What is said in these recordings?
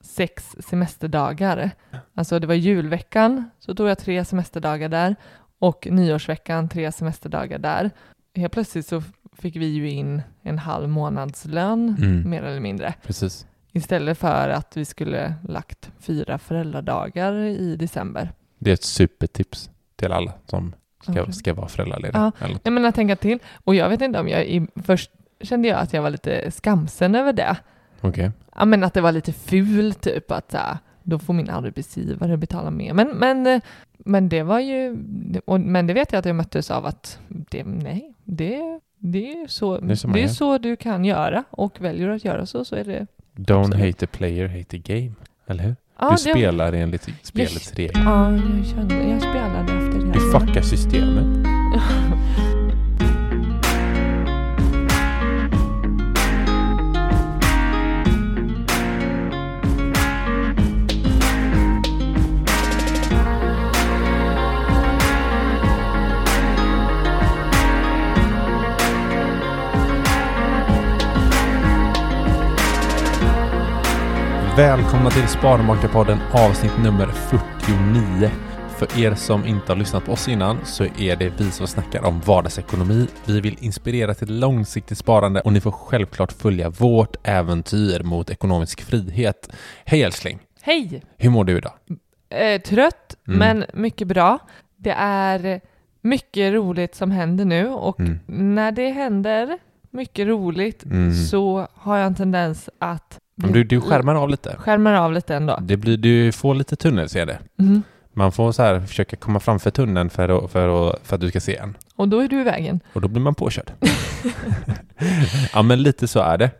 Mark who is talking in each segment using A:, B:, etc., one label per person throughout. A: sex semesterdagar. Alltså det var julveckan, så tog jag tre semesterdagar där och nyårsveckan tre semesterdagar där. Helt plötsligt så fick vi ju in en halv månadslön,
B: Mm.
A: mer eller mindre.
B: Precis.
A: Istället för att vi skulle lagt fyra föräldradagar i december.
B: Det är ett supertips till alla som ska,
A: Okej.
B: ska vara föräldralediga. Eller,
A: Jag menar tänka till. Och jag vet inte om jag, i, först kände jag att jag var lite skamsen över det.
B: Okej.
A: Ja men att det var lite ful typ att så här, då får min arbetsgivare betala mer. Men, men, eh, men det var ju, och, men det vet jag att jag möttes av att det, nej, det, det är ju så,
B: Det är så man
A: det är
B: gör.
A: så du kan göra och väljer att göra så så är det.
B: Don't
A: Absolut.
B: hate the player, hate the game. Eller hur?
A: Ja,
B: du
A: det-
B: spelar enligt spelets
A: Yes.
B: regler.
A: Ja, jag kände, jag spelade efter det.
B: Du fuckar systemet. Välkomna till Sparmakarpodden avsnitt nummer 49. För er som inte har lyssnat på oss innan så är det vi som snackar om vardagsekonomi. Vi vill inspirera till långsiktigt sparande och ni får självklart följa vårt äventyr mot ekonomisk frihet. Hej älskling!
A: Hej!
B: Hur mår du idag?
A: eh, trött,
B: Mm.
A: men mycket bra. Det är mycket roligt som händer nu och
B: Mm.
A: när det händer mycket roligt
B: Mm.
A: så har jag en tendens att
B: Men Du, du skärmar av lite.
A: skärmar av lite ändå.
B: Mm. Det blir, du får lite tunnelseende.
A: Mm.
B: Man får så här försöka komma framför tunneln för att, för att, för att du ska se en.
A: Och då är du i vägen.
B: Och då blir man påkörd. ja, men lite så är det.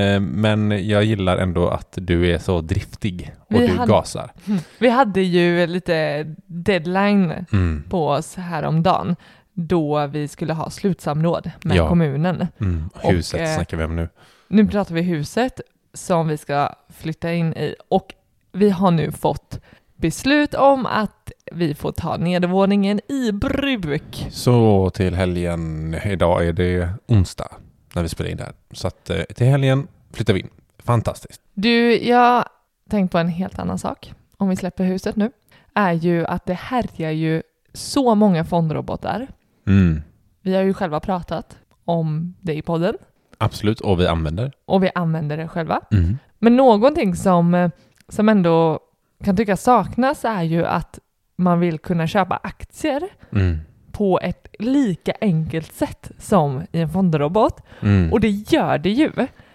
B: Eh, Men jag gillar ändå att du är så driftig och
A: Vi
B: du
A: hade-
B: gasar.
A: Vi hade ju lite deadline
B: Mm.
A: på oss häromdagen då vi skulle ha slutsamråd med
B: Ja.
A: kommunen.
B: Mm.
A: Och,
B: Huset
A: eh,
B: snackar vi om nu.
A: Nu pratar vi huset som vi ska flytta in i och vi har nu fått beslut om att vi får ta nedervåningen i bruk.
B: Så till helgen, idag är det onsdag när vi spelar in det här. Så att eh, till helgen flyttar vi in. Fantastiskt.
A: Du, jag har tänkt på en helt annan sak, om vi släpper huset nu, är ju att det härjar ju så många fondrobotar.
B: Mm.
A: Vi har ju själva pratat om det i podden
B: Absolut, och vi använder.
A: och vi använder det själva.
B: Mm.
A: Men någonting som, eh, som ändå kan tyckas saknas är ju att man vill kunna köpa aktier
B: Mm.
A: på ett lika enkelt sätt som i en fondrobot.
B: Mm.
A: Och det gör det ju.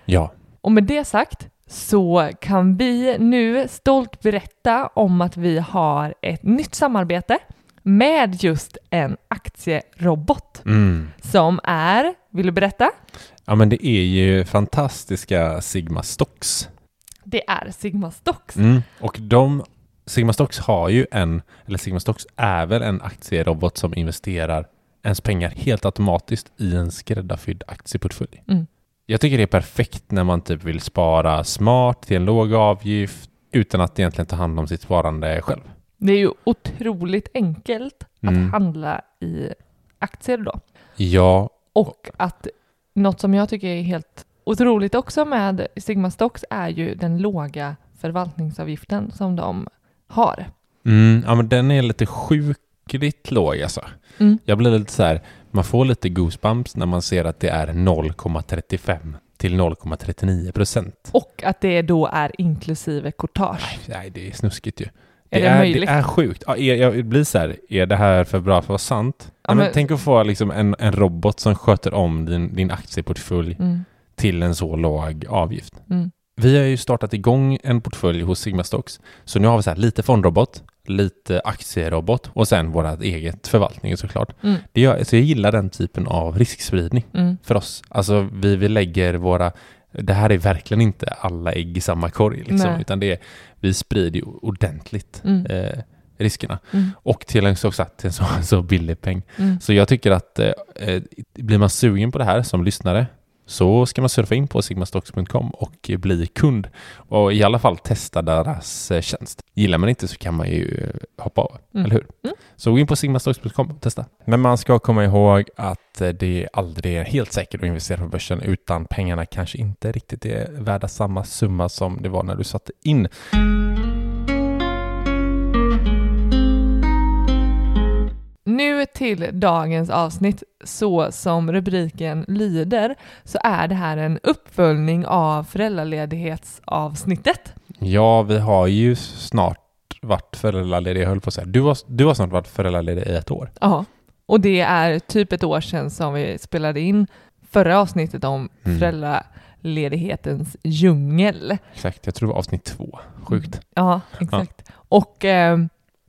B: Ja,
A: Och med det sagt så kan vi nu stolt berätta om att vi har ett nytt samarbete med just en aktierobot
B: mm.
A: som är, vill du berätta?
B: ja men det är ju fantastiska Sigma Stocks.
A: Det är Sigma Stocks.
B: Mm. Och de, Sigma Stocks har ju en, eller Sigma Stocks är väl en aktierobot som investerar ens pengar helt automatiskt i en skräddarsydd aktieportfölj.
A: Mm.
B: Jag tycker det är perfekt när man typ vill spara smart till en låg avgift utan att egentligen ta hand om sitt sparande själv.
A: Det är ju otroligt enkelt
B: Mm.
A: att handla i aktier då.
B: Ja,
A: Och att något som jag tycker är helt otroligt också med Sigma Stocks är ju den låga förvaltningsavgiften som de har.
B: mm, ja men den är lite sjukligt låg alltså.
A: Mm.
B: Jag blir lite så här, man får lite goosebumps när man ser att det är 0,35 till 0,39 procent.
A: Och att det då är inklusive courtage.
B: Nej, det är snuskigt ju.
A: Är det,
B: är,
A: möjligt?
B: det är sjukt. Ja, är, jag blir så här, är det här för bra för att vara sant?
A: Ja,
B: Nej, men
A: men-
B: tänk att få liksom en, en robot som sköter om din, din aktieportfölj
A: Mm.
B: till en så låg avgift.
A: Mm.
B: Vi har ju startat igång en portfölj hos Sigma Stocks, så nu har vi så här lite fondrobot, lite aktierobot och sen vårt eget förvaltning såklart.
A: Mm.
B: Det gör, så jag gillar den typen av riskspridning
A: Mm.
B: för oss. Alltså vi, vi lägger våra, det här är verkligen inte alla ägg i samma korg liksom,
A: Nej.
B: utan det är, vi sprider ju ordentligt
A: Mm.
B: eh, riskerna.
A: Mm.
B: Och till en, så, till en så, så billig peng.
A: Mm.
B: Så jag tycker att eh, eh, blir man sugen på det här som lyssnare så ska man surfa in på sigmastocks.com och bli kund. Och i alla fall testa deras eh, tjänst. Gillar man inte så kan man ju eh, hoppa av,
A: Mm.
B: eller hur?
A: Mm.
B: Så gå in på sigmastocks.com och testa. Men man ska komma ihåg att eh, det aldrig är helt säkert att investera på börsen utan pengarna kanske inte riktigt är värda samma summa som det var när du satte in.
A: Nu till dagens avsnitt. Så som rubriken lyder så är det här en uppföljning av föräldraledighetsavsnittet.
B: Ja, vi har ju snart varit föräldralediga, jag höll på att säga. Du har, du har snart varit föräldraledig i ett år.
A: Ja, och det är typ ett år sedan som vi spelade in förra avsnittet om
B: Mm.
A: föräldraledighetens djungel.
B: Exakt, jag tror det var avsnitt två. Sjukt.
A: Mm. Ja, exakt. Och eh,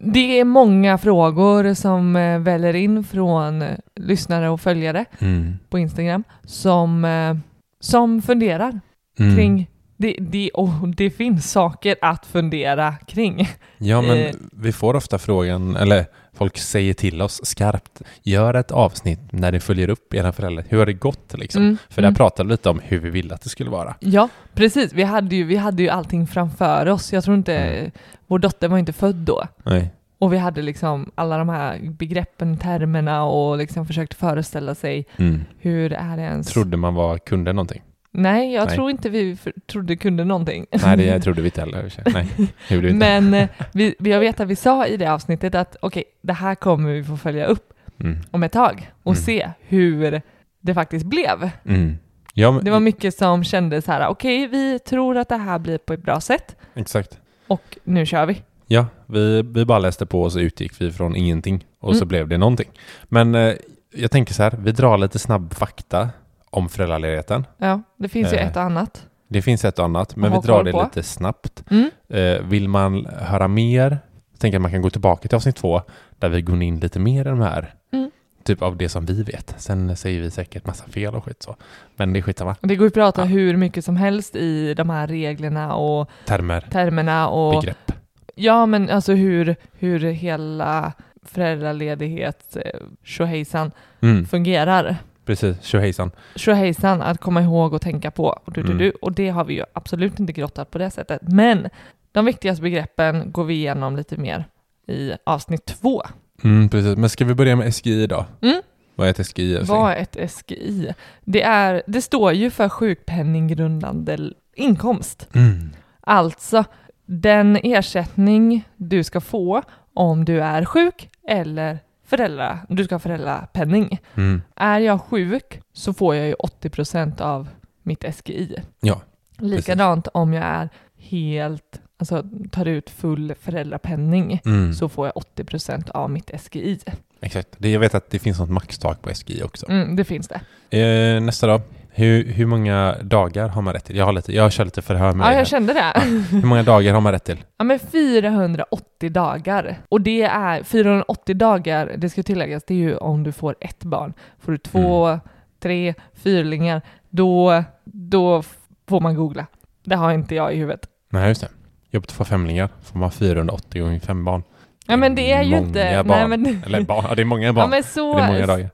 A: det är många frågor som eh, väller in från eh, lyssnare och följare
B: Mm.
A: på Instagram som, eh, som funderar
B: Mm.
A: kring det, det, och det finns saker att fundera kring.
B: Ja,
A: eh,
B: men vi får ofta frågan, eller folk säger till oss skarpt, gör ett avsnitt när ni följer upp era föräldrar. Hur har det gått liksom?
A: Mm,
B: För där
A: mm.
B: pratade vi lite om hur vi ville att det skulle vara.
A: Ja, precis. Vi hade ju, vi hade ju allting framför oss. Jag tror
B: Mm.
A: inte, vår dotter var inte född då.
B: Nej.
A: Och vi hade liksom alla de här begreppen, termerna och liksom försökte föreställa sig
B: Mm.
A: hur är det ens...
B: Trodde man var kunde någonting?
A: Nej, jag
B: Nej.
A: tror inte vi för, trodde kunde någonting.
B: Nej, det trodde vi inte heller. Nej, det gjorde vi inte.
A: Men eh, vi, vi- jag vet att vi sa i det avsnittet att okej, det här kommer vi få följa upp
B: Mm.
A: om ett tag och
B: Mm.
A: se hur det faktiskt blev.
B: Mm. Ja, men,
A: Det var mycket som kändes så här, okej, vi tror att det här blir på ett bra sätt
B: Exakt.
A: och nu kör vi.
B: Ja, vi, vi bara läste på och så utgick vi från ingenting och så
A: Mm.
B: blev det någonting. Men eh, jag tänker så här, vi drar lite snabb fakta om föräldraledigheten.
A: Ja, det finns ju
B: Eh.
A: ett och annat.
B: Det finns ett och annat, men vi
A: Att ha
B: drar
A: koll
B: det
A: på.
B: lite snabbt.
A: Mm.
B: Eh, vill man höra mer, jag tänker att man kan gå tillbaka till avsnitt två, där vi går in lite mer i de här,
A: Mm.
B: typ av det som vi vet. Sen säger vi säkert massa fel och skit så, men det är skitsamma.
A: Och Det går ju att prata
B: Ja.
A: hur mycket som helst i de här reglerna och
B: Termer,
A: termerna och
B: begrepp.
A: ja, men alltså hur, hur hela föräldraledighet eh, tjohejsan
B: Mm,
A: fungerar.
B: precis, tjohejsan.
A: Tjohejsan att komma ihåg och tänka på och, du, du,
B: Mm.
A: du. och det har vi ju absolut inte grottat på det sättet. Men de viktigaste begreppen går vi igenom lite mer i avsnitt två.
B: Mm, precis. Men ska vi börja med SGI då?
A: Mm.
B: Vad är ett SGI? Älskling?
A: Vad är ett SGI? Det, är, det står ju för sjukpenninggrundande l- inkomst.
B: Mm.
A: Alltså den ersättning du ska få om du är sjuk eller föräldra, du ska ha föräldrapenning.
B: Mm.
A: Är jag sjuk så får jag ju 80% av mitt SGI.
B: Ja,
A: Likadant om jag är helt, alltså tar ut full föräldrapenning
B: Mm.
A: så får jag 80% av mitt SGI.
B: Exakt. Det, jag vet att det finns något maxtak på SGI också.
A: Mm, det finns det. Mm.
B: Eh, nästa då. Hur, hur många dagar har man rätt till? Jag, har lite, jag kör lite förhör med
A: Ja,
B: er här.
A: jag kände det.
B: Hur många dagar har man rätt till?
A: Ja, men 480 dagar. Och det är 480 dagar, det ska tilläggas, det är ju om du får ett barn. Får du två, tre, fyrlingar, då, då får man googla. Det har inte jag i huvudet.
B: Nej, just det. Jobbigt att få femlingar. Får man 480 gånger fem barn.
A: Ja, men det är ju
B: många
A: inte...
B: Barn.
A: men,
B: Eller barn, ja, det är många barn.
A: ja, men så,
B: det är många dagar.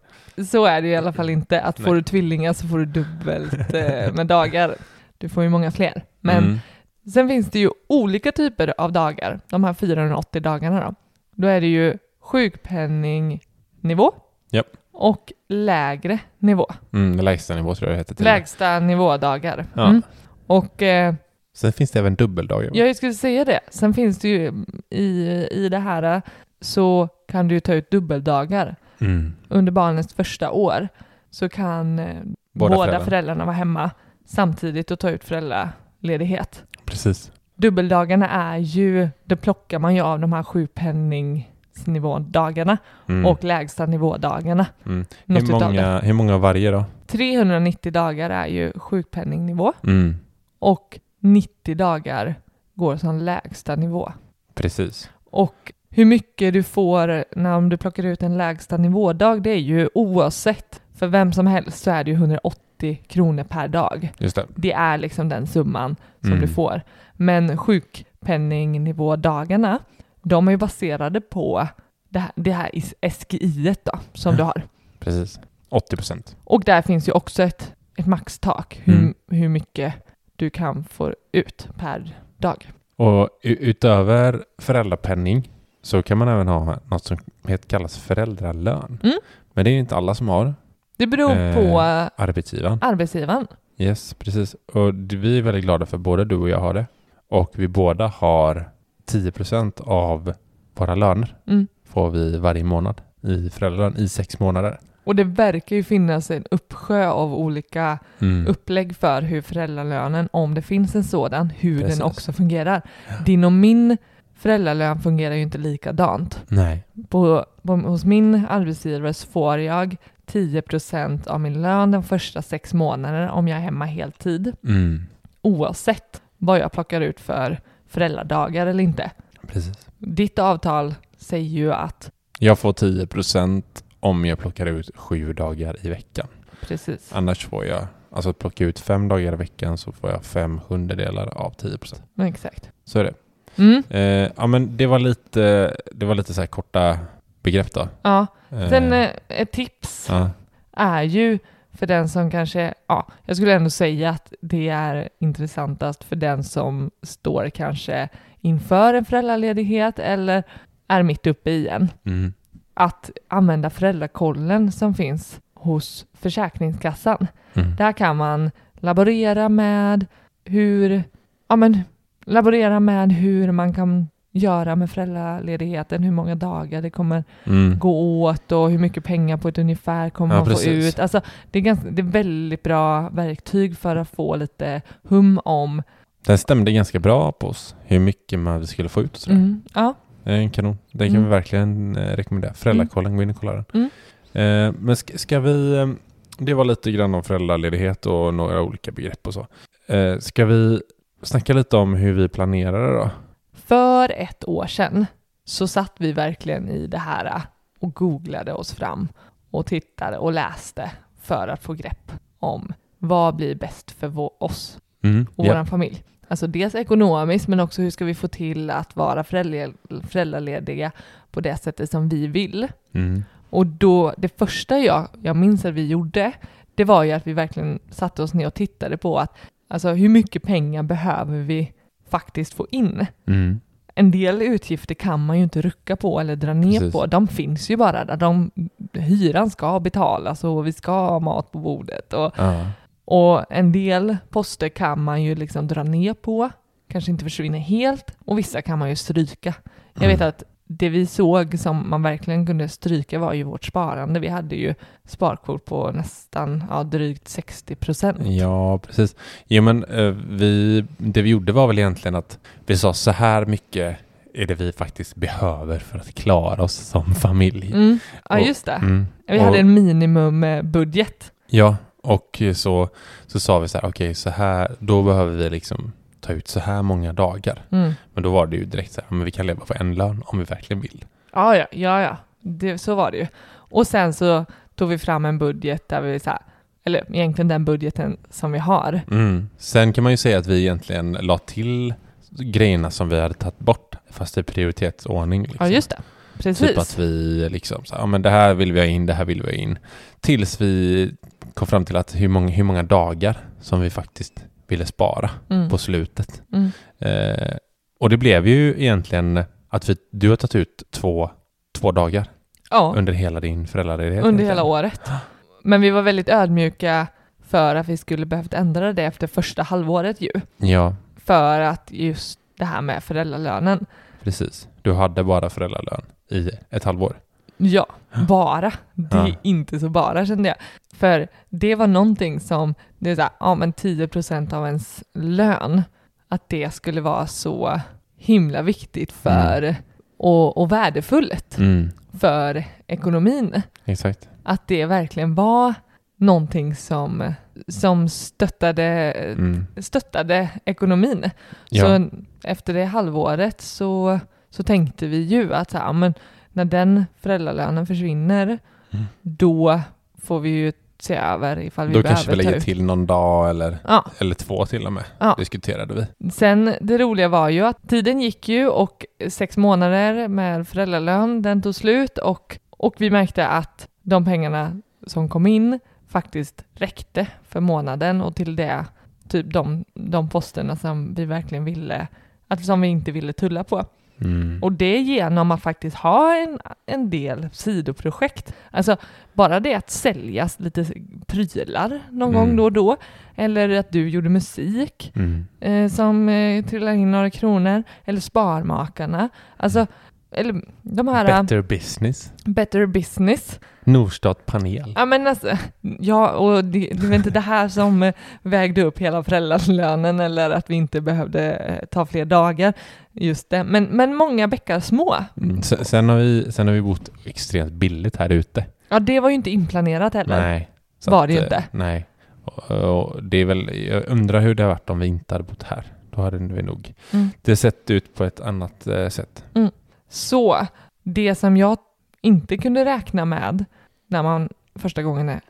A: Så är det i alla fall inte, att får
B: Nej.
A: du tvillingar så får du dubbelt eh, med dagar. Du får ju många fler. Men
B: Mm.
A: sen finns det ju olika typer av dagar, de här 480 dagarna då. Då är det ju sjukpenningnivå
B: Japp.
A: och lägre nivå.
B: Mm, lägstanivå tror jag det heter. till.
A: Lägsta nivådagar.
B: Ja.
A: Mm. Och eh,
B: Sen finns det även dubbeldagar. va?
A: jag skulle säga det, sen finns det ju mm, i, i det här eh, så kan du ju ta ut dubbeldagar
B: Mm.
A: under barnets första år. Så kan eh,
B: Båda
A: båda,
B: föräldrar.
A: föräldrarna vara hemma samtidigt och ta ut föräldraledighet.
B: Precis.
A: Dubbeldagarna är ju, det plockar man ju av de här sjukpenningsnivådagarna
B: Mm.
A: och lägsta nivådagarna.
B: Mm.
A: Något
B: Hur,
A: utav det.
B: många, hur många av varje då?
A: 390 dagar är ju sjukpenningnivå
B: Mm.
A: och 90 dagar går som lägsta nivå.
B: Precis.
A: Och hur mycket du får när om du plockar ut en lägsta nivådag, det är ju oavsett för vem som helst så är det ju 180 kronor per dag.
B: Just det.
A: Det är liksom den summan som
B: Mm.
A: du får. Men sjukpenningnivådagarna, de är ju baserade på det här, det här is- SGI då, som du har.
B: Precis. 80 procent.
A: Och där finns ju också ett, ett maxtak, hur,
B: Mm.
A: hur mycket du kan få ut per dag.
B: Och u- utöver föräldrapenning så kan man även ha något som heter, kallas föräldralön.
A: Mm.
B: Men det är ju inte alla som har
A: Det beror
B: Eh.
A: på
B: arbetsgivaren.
A: arbetsgivaren.
B: Yes, precis. Och d- vi är väldigt glada för både du och jag har det. Och vi båda har 10 procent av våra löner
A: Mm.
B: får vi varje månad i föräldralön i sex månader.
A: Och det verkar ju finnas en uppsjö av olika
B: Mm.
A: upplägg för hur föräldralönen, om det finns en sådan, hur
B: Precis.
A: den också fungerar. Din och min föräldralön fungerar ju inte likadant.
B: Nej.
A: På, på, hos min arbetsgivare så får jag 10% av min lön de första sex månaderna om jag är hemma heltid,
B: Mm.
A: oavsett vad jag plockar ut för föräldradagar eller inte.
B: Precis.
A: Ditt avtal säger ju att,
B: Jag får 10 procent om jag plockar ut sju dagar i veckan.
A: precis,
B: Annars får jag, alltså plocka ut fem dagar i veckan så får jag fem hundradelar av 10 procent.
A: exakt.
B: Så är det.
A: Mm,
B: Eh, ja, men det var lite, det var lite så här korta begrepp då.
A: ja.
B: Eh,
A: Sen eh, ett tips.
B: ja.
A: är ju för den som kanske, ja, jag skulle ändå säga att det är intressantast för den som står kanske inför en föräldraledighet eller är mitt uppe i en.
B: Mm.
A: Att använda föräldrakollen som finns hos Försäkringskassan.
B: Mm.
A: Där kan man laborera med hur, ja men, laborera med hur man kan göra med föräldraledigheten, hur många dagar det kommer
B: Mm.
A: gå åt och hur mycket pengar på ett ungefär kommer
B: Ja,
A: man få
B: precis.
A: ut. Alltså, det, är ganska, det är väldigt bra verktyg för att få lite hum om.
B: Den stämde ganska bra på oss, hur mycket man, vi skulle få ut och sådär.
A: Mm, ja,
B: Det är En kanon. Den kan
A: Mm.
B: vi verkligen eh, rekommendera. Föräldrakollen, gå in och kolla den.
A: Mm.
B: Eh, men ska, ska vi... eh, Det var lite grann om föräldraledighet och några olika begrepp och så. Eh, ska vi snacka lite om hur vi planerar det då?
A: för ett år sedan så satt vi verkligen i det här äh, och googlade oss fram och tittade och läste för att få grepp om vad blir bäst för vå- oss
B: Mm.
A: och vår familj. Alltså dels ekonomiskt men också hur ska vi få till att vara föräldral- föräldralediga på det sättet som vi vill.
B: Mm.
A: Och då, det första jag, jag minns att vi gjorde, det var ju att vi verkligen satte oss ner och tittade på att alltså, hur mycket pengar behöver vi faktiskt få in?
B: Mm.
A: En del utgifter kan man ju inte rucka på eller dra ner
B: Precis.
A: på. De finns ju bara där. De, hyran ska betalas och vi ska ha mat på bordet. Och,
B: Ja.
A: och en del poster kan man ju liksom dra ner på, kanske inte försvinner helt, och vissa kan man ju stryka. Jag vet
B: Mm.
A: att det vi såg som man verkligen kunde stryka var ju vårt sparande. Vi hade ju sparkort på nästan ja, drygt 60 procent.
B: Ja, precis. Jo, men eh, vi, det vi gjorde var väl egentligen att vi sa så här mycket är det vi faktiskt behöver för att klara oss som familj.
A: Mm. Ja,
B: Och-
A: just det.
B: Mm.
A: Vi
B: Och-
A: hade en minimumbudget.
B: Ja, och så, så sa vi så här, okej, så här, då behöver vi liksom ta ut så här många dagar.
A: Mm.
B: Men då var det ju direkt så här, men vi kan leva på en lön om vi verkligen vill.
A: Ja, ja, ja, ja. Det, så var det ju. Och sen så tog vi fram en budget där vi så här, eller egentligen den budgeten som vi har.
B: Sen kan man ju säga att vi egentligen la till grejerna som vi hade tagit bort, fast i prioritetsordning. Liksom.
A: Ja, just det. Precis.
B: Typ att vi liksom, så här, ja men det här vill vi ha in, det här vill vi ha in. Tills vi kom fram till att hur många, hur många dagar som vi faktiskt ville spara
A: Mm.
B: på slutet.
A: Mm.
B: Eh, och det blev ju egentligen att vi, du har tagit ut två, två dagar
A: Ja,
B: under hela din föräldraledighet.
A: under
B: egentligen.
A: hela året. Men vi var väldigt ödmjuka för att vi skulle behövt ändra det efter första halvåret ju.
B: Ja,
A: För att just det här med föräldralönen.
B: precis. Du hade bara föräldralön i ett halvår.
A: Ja, bara. Det är
B: Ja.
A: inte så bara kände jag. För det var någonting som, det är så här, ja men 10% av ens lön, att det skulle vara så himla viktigt för och, och värdefullt
B: Mm.
A: för ekonomin.
B: Exakt.
A: Att det verkligen var någonting som, som stöttade,
B: Mm.
A: stöttade ekonomin.
B: Ja.
A: Så efter det halvåret så, så tänkte vi ju att så här, ja, men när den föräldralönen försvinner, då får vi ju se över ifall vi
B: Mm. Då
A: behöver
B: kanske vi
A: ta
B: lägger
A: ut.
B: till någon dag eller,
A: Ja.
B: eller två till och med,
A: Ja.
B: diskuterade vi.
A: Sen det roliga var ju att tiden gick ju och sex månader med föräldralön, den tog slut och, och vi märkte att de pengarna som kom in faktiskt räckte för månaden och till det, typ de, de posterna som vi verkligen ville, att, som vi inte ville tulla på.
B: Mm.
A: Och det genom att faktiskt ha en, en del sidoprojekt. Alltså bara det att sälja lite prylar någon
B: Mm.
A: gång då och då. Eller att du gjorde musik
B: Mm.
A: eh, som eh, trillar in några kronor. Eller Sparmakarna. Alltså, eller de här eh,
B: Better business.
A: Better Business.
B: Norstat panel.
A: Ja men alltså, ja och det, det var inte det här som eh, vägde upp hela föräldralönen eller att vi inte behövde eh, ta fler dagar. Just det, men, men många bäckar små.
B: Mm. Sen, sen, har vi, sen har vi bott extremt billigt här ute.
A: Ja, det var ju inte inplanerat heller.
B: Nej.
A: Var det ju
B: eh,
A: inte.
B: Nej. Och, och det är väl, jag undrar hur det hade varit om vi inte hade bott här. Då hade vi nog
A: Mm.
B: det sett ut på ett annat eh, sätt.
A: Så det som jag inte kunde räkna med när man första gången är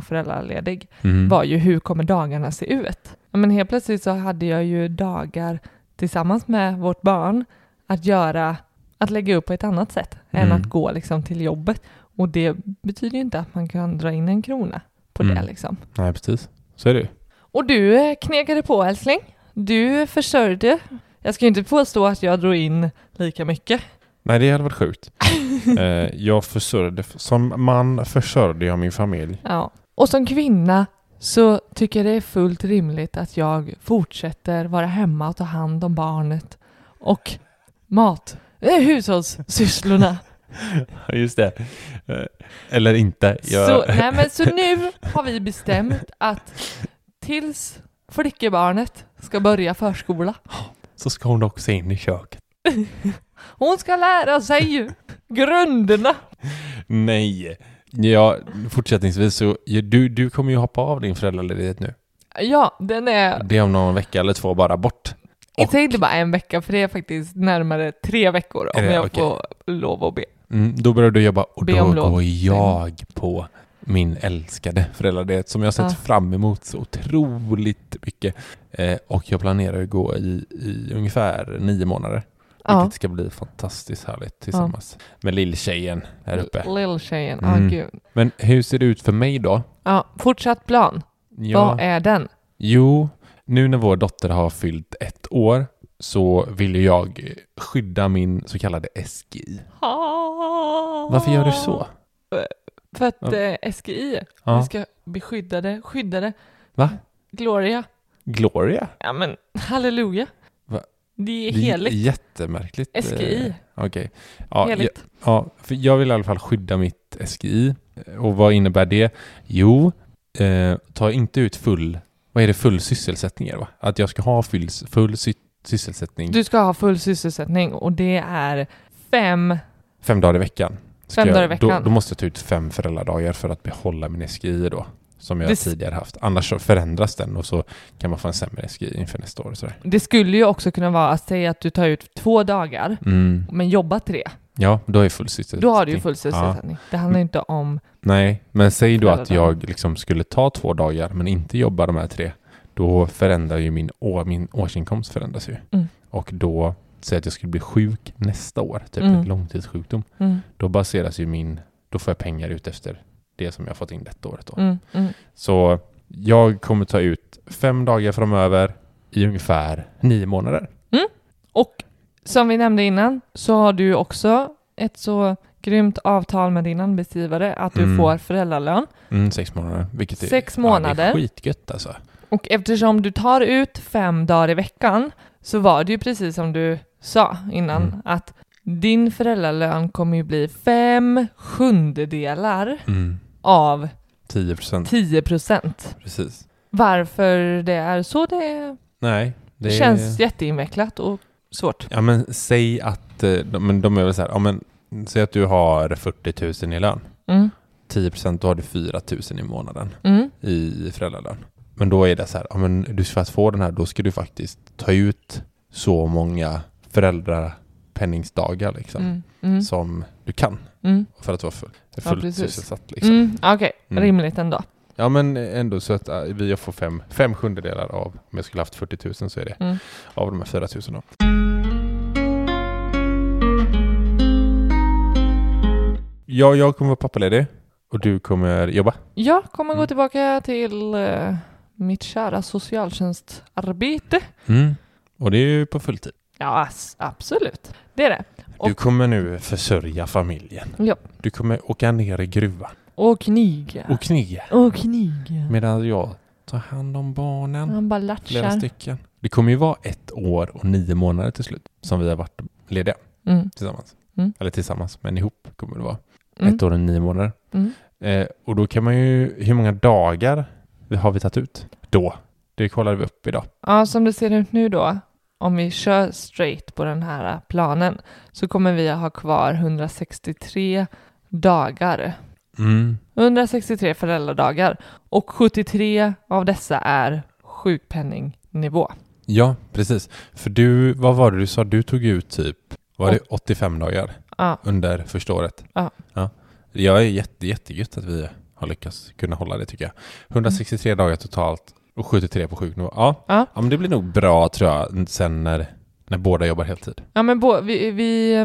A: hemmaföräldraledig
B: Mm.
A: var ju hur kommer dagarna se ut? Ja, Men helt plötsligt så hade jag ju dagar tillsammans med vårt barn att göra, att lägga upp på ett annat sätt än
B: Mm.
A: att gå liksom till jobbet. Och det betyder ju inte att man kan dra in en krona på det
B: Mm.
A: liksom.
B: Nej, precis. Så är det ju.
A: Och du eh, knegade på älskling. Du försörjde. Jag ska ju inte påstå att jag drog in lika mycket.
B: Nej, det hade varit sjukt. eh, jag försörjde, som man försörjde jag min familj.
A: Ja. Och som kvinna så tycker jag det är fullt rimligt att jag fortsätter vara hemma och ta hand om barnet och mat, eh, hushållssysslorna.
B: Just det. Eh, eller inte. Jag,
A: Så, nej, men, så nu har vi bestämt att tills flickebarnet ska börja förskola,
B: så ska hon också in i köket.
A: hon ska lära sig ju grunderna.
B: Nej. Ja, fortsättningsvis så, ja, du, du kommer ju hoppa av din föräldraledighet nu.
A: Ja, den är
B: Det är om någon vecka eller två bara bort.
A: Jag säger inte bara en vecka, för det är faktiskt närmare tre veckor om
B: Är det-
A: jag
B: okej.
A: får lov att be.
B: Mm, då börjar du jobba och
A: Be
B: då
A: om lov.
B: går jag på min älskade föräldraledighet som jag har sett
A: Ja.
B: fram emot så otroligt mycket. Eh, och jag planerar att gå i, i ungefär nio månader.
A: Ja,
B: Vilket ska bli fantastiskt härligt tillsammans med lilltjejen där uppe.
A: lilltjejen.
B: Mm.
A: Ja, gud.
B: Men hur ser det ut för mig då?
A: Ja, fortsatt plan. Vad är den?
B: Jo, nu när vår dotter har fyllt ett år så vill ju jag skydda min så kallade SGI. Varför gör du så?
A: För att
B: Ja.
A: eh, SGI,
B: Ja.
A: vi ska beskydda det, skydda det.
B: Va?
A: Gloria.
B: Gloria?
A: Ja men, halleluja.
B: Va?
A: Det är
B: Det är
A: heligt.
B: Jättemärkligt. eh,
A: SGI.
B: Okej. Ja, jag,
A: Heligt.
B: ja, för jag vill i alla fall skydda mitt SGI. Och vad innebär det? Jo, eh, ta inte ut full... Vad är det? Full sysselsättning är det, va? Att jag ska ha full, full sy- sysselsättning
A: Du ska ha full sysselsättning och det är fem,
B: fem dagar i veckan. Ska
A: Fem
B: jag,
A: dagar i veckan.
B: Då, då måste jag ta ut fem föräldradagar för att behålla min SGI då. Som jag
A: Det s-
B: tidigare haft. Annars så förändras den och så kan man få en sämre SGI inför nästa år. och Sådär.
A: det skulle ju också kunna vara att säga att du tar ut två dagar,
B: Mm.
A: men jobba tre.
B: Ja, då är jag full sysselsättning.
A: Då har du ju full sysselsättning. Det handlar ju inte om...
B: Nej, men säg då att
A: Föräldradagar.
B: jag liksom skulle ta två dagar men inte jobba de här tre. Då förändrar ju min, år, min årsinkomst förändras ju.
A: Mm.
B: Och då säg att jag skulle bli sjuk nästa år, typ
A: Mm.
B: en långtidssjukdom,
A: Mm.
B: då baseras ju min, då får jag pengar ut efter det som jag har fått in detta året då.
A: Mm. Mm.
B: Så jag kommer ta ut fem dagar framöver i ungefär nio månader.
A: Och som vi nämnde innan så har du ju också ett så grymt avtal med din arbetsgivare att du
B: Mm.
A: får föräldralön.
B: Mm, sex månader. Vilket är,
A: Sex
B: Ja, det
A: månader.
B: är skitgött alltså.
A: Och eftersom du tar ut fem dagar i veckan så var det ju precis som du sa innan
B: Mm.
A: att din föräldralön kommer ju bli fem sjundedelar
B: Mm.
A: av
B: 10 procent,
A: 10 procent.
B: precis.
A: Varför det är så det,
B: Nej, det
A: känns jätteinvecklat och svårt.
B: Ja, men säg att eh, de, men de är väl så här, ja, men, säg att du har 40 000 i lön.
A: Mm.
B: 10 procent, då har du 4 000 i månaden
A: Mm.
B: i föräldralön. Men då är det så här, ja, men du för att få den här, då ska du faktiskt ta ut så många föräldrapenningsdagar liksom,
A: Mm. Mm.
B: som du kan
A: Mm.
B: för att vara full, fullt
A: precis.
B: sysselsatt. Liksom.
A: Mm. Okej,
B: Mm.
A: rimligt ändå.
B: Ja men ändå så att äh, vi får fem, fem sjundedelar av, om jag skulle haft 40 000 så är det
A: Mm.
B: av de här 4 000 då. Ja, jag kommer vara pappaledig och du kommer jobba.
A: Jag kommer gå
B: Mm.
A: tillbaka till eh, mitt kära socialtjänstarbete.
B: Mm. Och det är ju på fulltid.
A: Ja, ass- absolut. Det är det.
B: Du
A: Och-
B: kommer nu försörja familjen.
A: Ja.
B: Du kommer åka ner i gruvan
A: Och kniga.
B: och kniga
A: Och kniga.
B: medan jag tar hand om barnen.
A: Han bara
B: Flera
A: latchar.
B: stycken. Det kommer ju vara ett år och nio månader till slut som vi har varit lediga.
A: Mm.
B: tillsammans.
A: Mm.
B: Eller tillsammans, men ihop kommer det vara.
A: Mm.
B: Ett år och nio månader.
A: Mm.
B: Eh, och då kan man ju, hur många dagar har vi tagit ut? Då. Det kollade vi upp idag.
A: Ja, som det ser ut nu då, om vi kör straight på den här eh, planen, så kommer vi att ha kvar 163 dagar.
B: Mm.
A: 163 föräldradagar. Och 73 av dessa är sjukpenningnivå.
B: Ja, precis. För du, vad var det du sa? Du tog ut typ, var det 85 dagar
A: Ja.
B: under första året?
A: Ja.
B: ja. Jag är jätte, jättegött att vi har lyckats kunna hålla det tycker jag. 163 dagar totalt och 73 på sjuknivå. Ja.
A: Mm. Ja.
B: ja, men det blir nog bra tror jag sen när, när båda jobbar heltid.
A: Ja, men bå- vi, vi,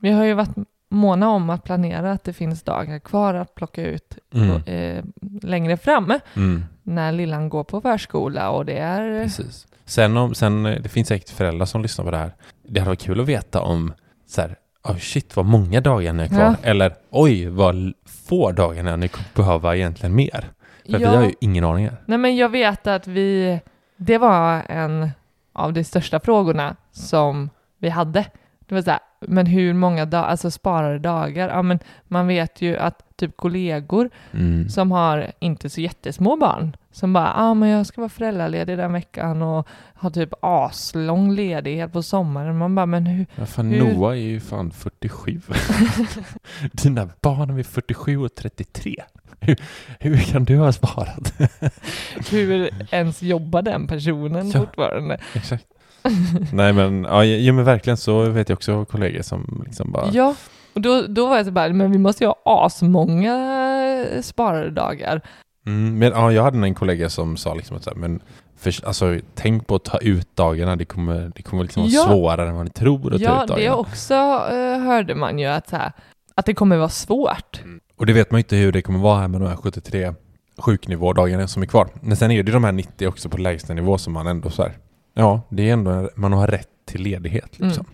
A: vi har ju varit måna om att planera att det finns dagar kvar att plocka ut
B: Mm.
A: eh, längre fram
B: Mm.
A: när lillan går på förskola och det är...
B: Precis. Sen, om, sen eh, det finns säkert föräldrar som lyssnar på det här. Det hade varit kul att veta om så här, oh shit vad många dagar ni har kvar.
A: Ja.
B: Eller oj vad l- få dagar när ni kommer behöva egentligen mer. För att vi har
A: Ja.
B: ju ingen aning här.
A: Nej, men jag vet att vi... Det var en av de största frågorna som vi hade. Det var så här, men hur många dagar, alltså sparade dagar? Ja, men man vet ju att typ kollegor
B: Mm.
A: som har inte så jättesmå barn som bara, ja ah, men jag ska vara föräldraledig den veckan och ha typ aslång ledighet på sommaren. Man bara, men hur?
B: Ja, fan,
A: Hur-
B: Noah är ju fan 47. Dina barn är 47 och 33. Hur, hur kan du ha sparat?
A: Hur ens jobbar den personen
B: Ja.
A: fortfarande?
B: Exakt. Nej men, ja, ja, men verkligen så vet jag också kollegor som liksom bara
A: Ja, och då, då var jag så bara, men vi måste ju ha asmånga eh, sparade dagar.
B: Mm, men ja, jag hade en kollega som sa liksom att så här, men för, alltså, tänk på att ta ut dagarna, det kommer, det kommer liksom vara
A: Ja.
B: svårare än vad ni tror att ta
A: Ja,
B: ut
A: det
B: dagarna.
A: också eh, hörde man ju att, så här, att det kommer vara svårt.
B: Och det vet man ju inte hur det kommer vara här med de här 73 sjuknivådagarna som är kvar. Men sen är det ju de här 90 också på lägsta nivå som man ändå så här, ja, det är ändå, man har rätt till ledighet
A: Mm.
B: liksom.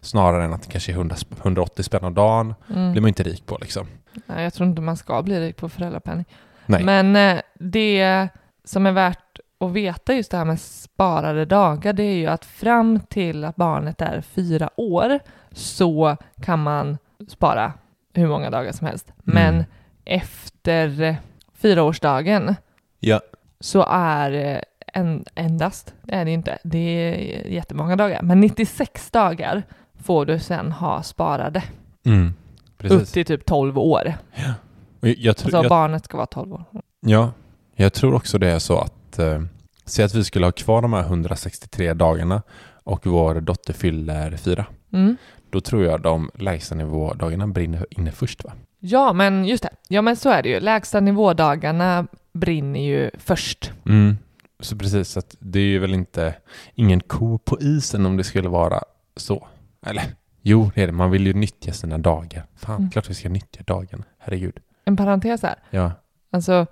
B: Snarare än att det kanske är 100, 180 spänn om
A: Mm.
B: dagen, blir man ju inte rik på liksom.
A: Nej, jag tror inte man ska bli rik på föräldrapenning.
B: Nej.
A: Men eh, det som är värt att veta just det här med sparade dagar, det är ju att fram till att barnet är fyra år så kan man spara hur många dagar som helst.
B: Mm.
A: Men efter eh, fyraårsdagen
B: Ja.
A: så är eh, en, endast, det är det inte, det är jättemånga dagar, men 96 dagar får du sen ha sparade
B: Mm,
A: upp
B: precis.
A: till typ 12 år.
B: Och Jag, jag, tror-
A: Alltså
B: jag,
A: barnet ska vara 12 år.
B: Ja, jag tror också det är så att eh, säg att vi skulle ha kvar de här 163 dagarna och vår dotter fyller fyra.
A: Mm.
B: Då tror jag de lägsta nivådagarna brinner inne först va?
A: Ja, men just det. Ja, men så är det ju. Lägsta nivådagarna brinner ju först.
B: Mm. Så precis, så att det är ju väl inte ingen ko på isen om det skulle vara så. Eller, jo, det är det. Man vill ju nyttja sina dagar. Fan,
A: Mm.
B: klart vi ska nyttja dagen. Herregud.
A: En parentes här.
B: Ja.
A: Alltså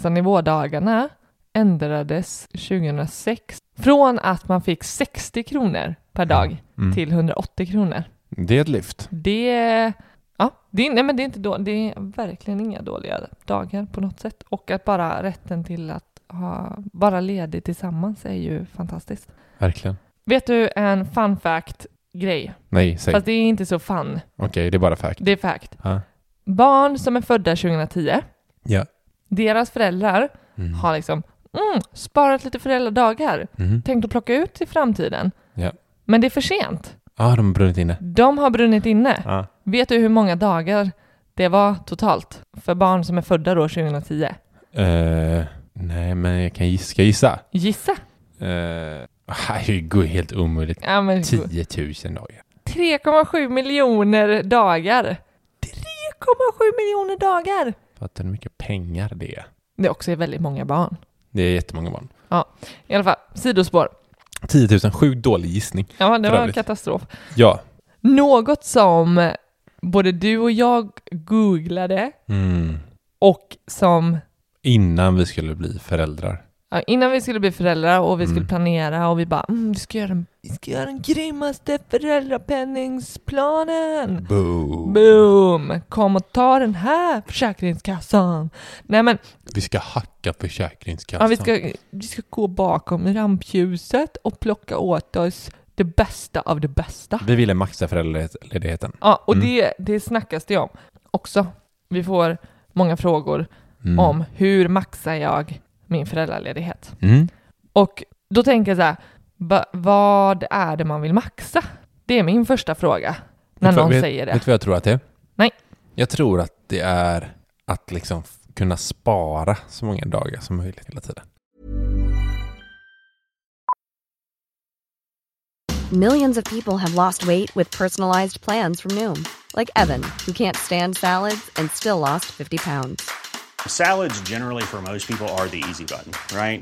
A: lägstanivådagarna ändrades 2006 från att man fick 60 kronor per dag
B: Mm.
A: till 180 kronor.
B: Det är ett lyft.
A: Det, ja, det, är- nej men det, är inte då, det är verkligen inga dåliga dagar på något sätt. Och att bara rätten till att ha, bara ledigt tillsammans är ju fantastiskt.
B: Verkligen.
A: Vet du en fun fact-grej?
B: Nej, säg.
A: Fast det är inte så fun,
B: Okej, det är bara fact.
A: det är fact.
B: Ja.
A: Barn som är födda 2010,
B: Ja.
A: deras föräldrar
B: Mm.
A: har liksom mm, sparat lite föräldradagar,
B: Mm.
A: tänkt att plocka ut i framtiden.
B: Ja.
A: Men det är för sent.
B: ah, de har brunnit inne.
A: De har brunnit inne.
B: Ja.
A: Vet du hur många dagar det var totalt för barn som är födda då 2010?
B: Eh, nej, men jag kan gissa. Ska jag gissa?
A: Gissa!
B: Uh, det går ju helt omöjligt.
A: Ja, men,
B: 10 000 dagar.
A: 3,7 miljoner dagar. 3,7 miljoner dagar!
B: Fattar du hur mycket pengar det är?
A: Det också är väldigt många barn.
B: Det är jättemånga barn.
A: I alla fall, sidospår.
B: 10 000, sjukt dålig gissning.
A: Ja, det
B: För
A: var en
B: övrigt.
A: katastrof.
B: Ja.
A: Något som både du och jag googlade
B: Mm.
A: och som
B: Innan vi skulle bli föräldrar.
A: Ja, innan vi skulle bli föräldrar och vi skulle
B: Mm.
A: planera och vi bara mm, vi, ska göra den, vi ska göra den grymmaste föräldrapenningsplanen.
B: Boom.
A: Boom! Kom och ta den här Försäkringskassan. Nej men,
B: Vi ska hacka Försäkringskassan.
A: ja, vi, ska, vi ska gå bakom rampljuset och plocka åt oss det bästa av det bästa.
B: vi ville maxa föräldraledigheten.
A: Ja, och
B: Mm.
A: det, det snackas det om också. Vi får många frågor
B: Mm.
A: om hur maxar jag min föräldraledighet?
B: Mm.
A: Och då tänker jag så här, va, vad är det man vill maxa? Det är min första fråga när
B: Vet du-
A: någon
B: vet,
A: säger det.
B: Vet du vad jag tror att det är?
A: Nej.
B: Jag tror att det är att liksom f- kunna spara så många dagar som möjligt hela tiden.
C: Millions of people have lost weight with personalized plans from Noom, like Evan, who can't stand salads and still lost 50 pounds.
D: Salads, generally, for most people, are the easy button, right?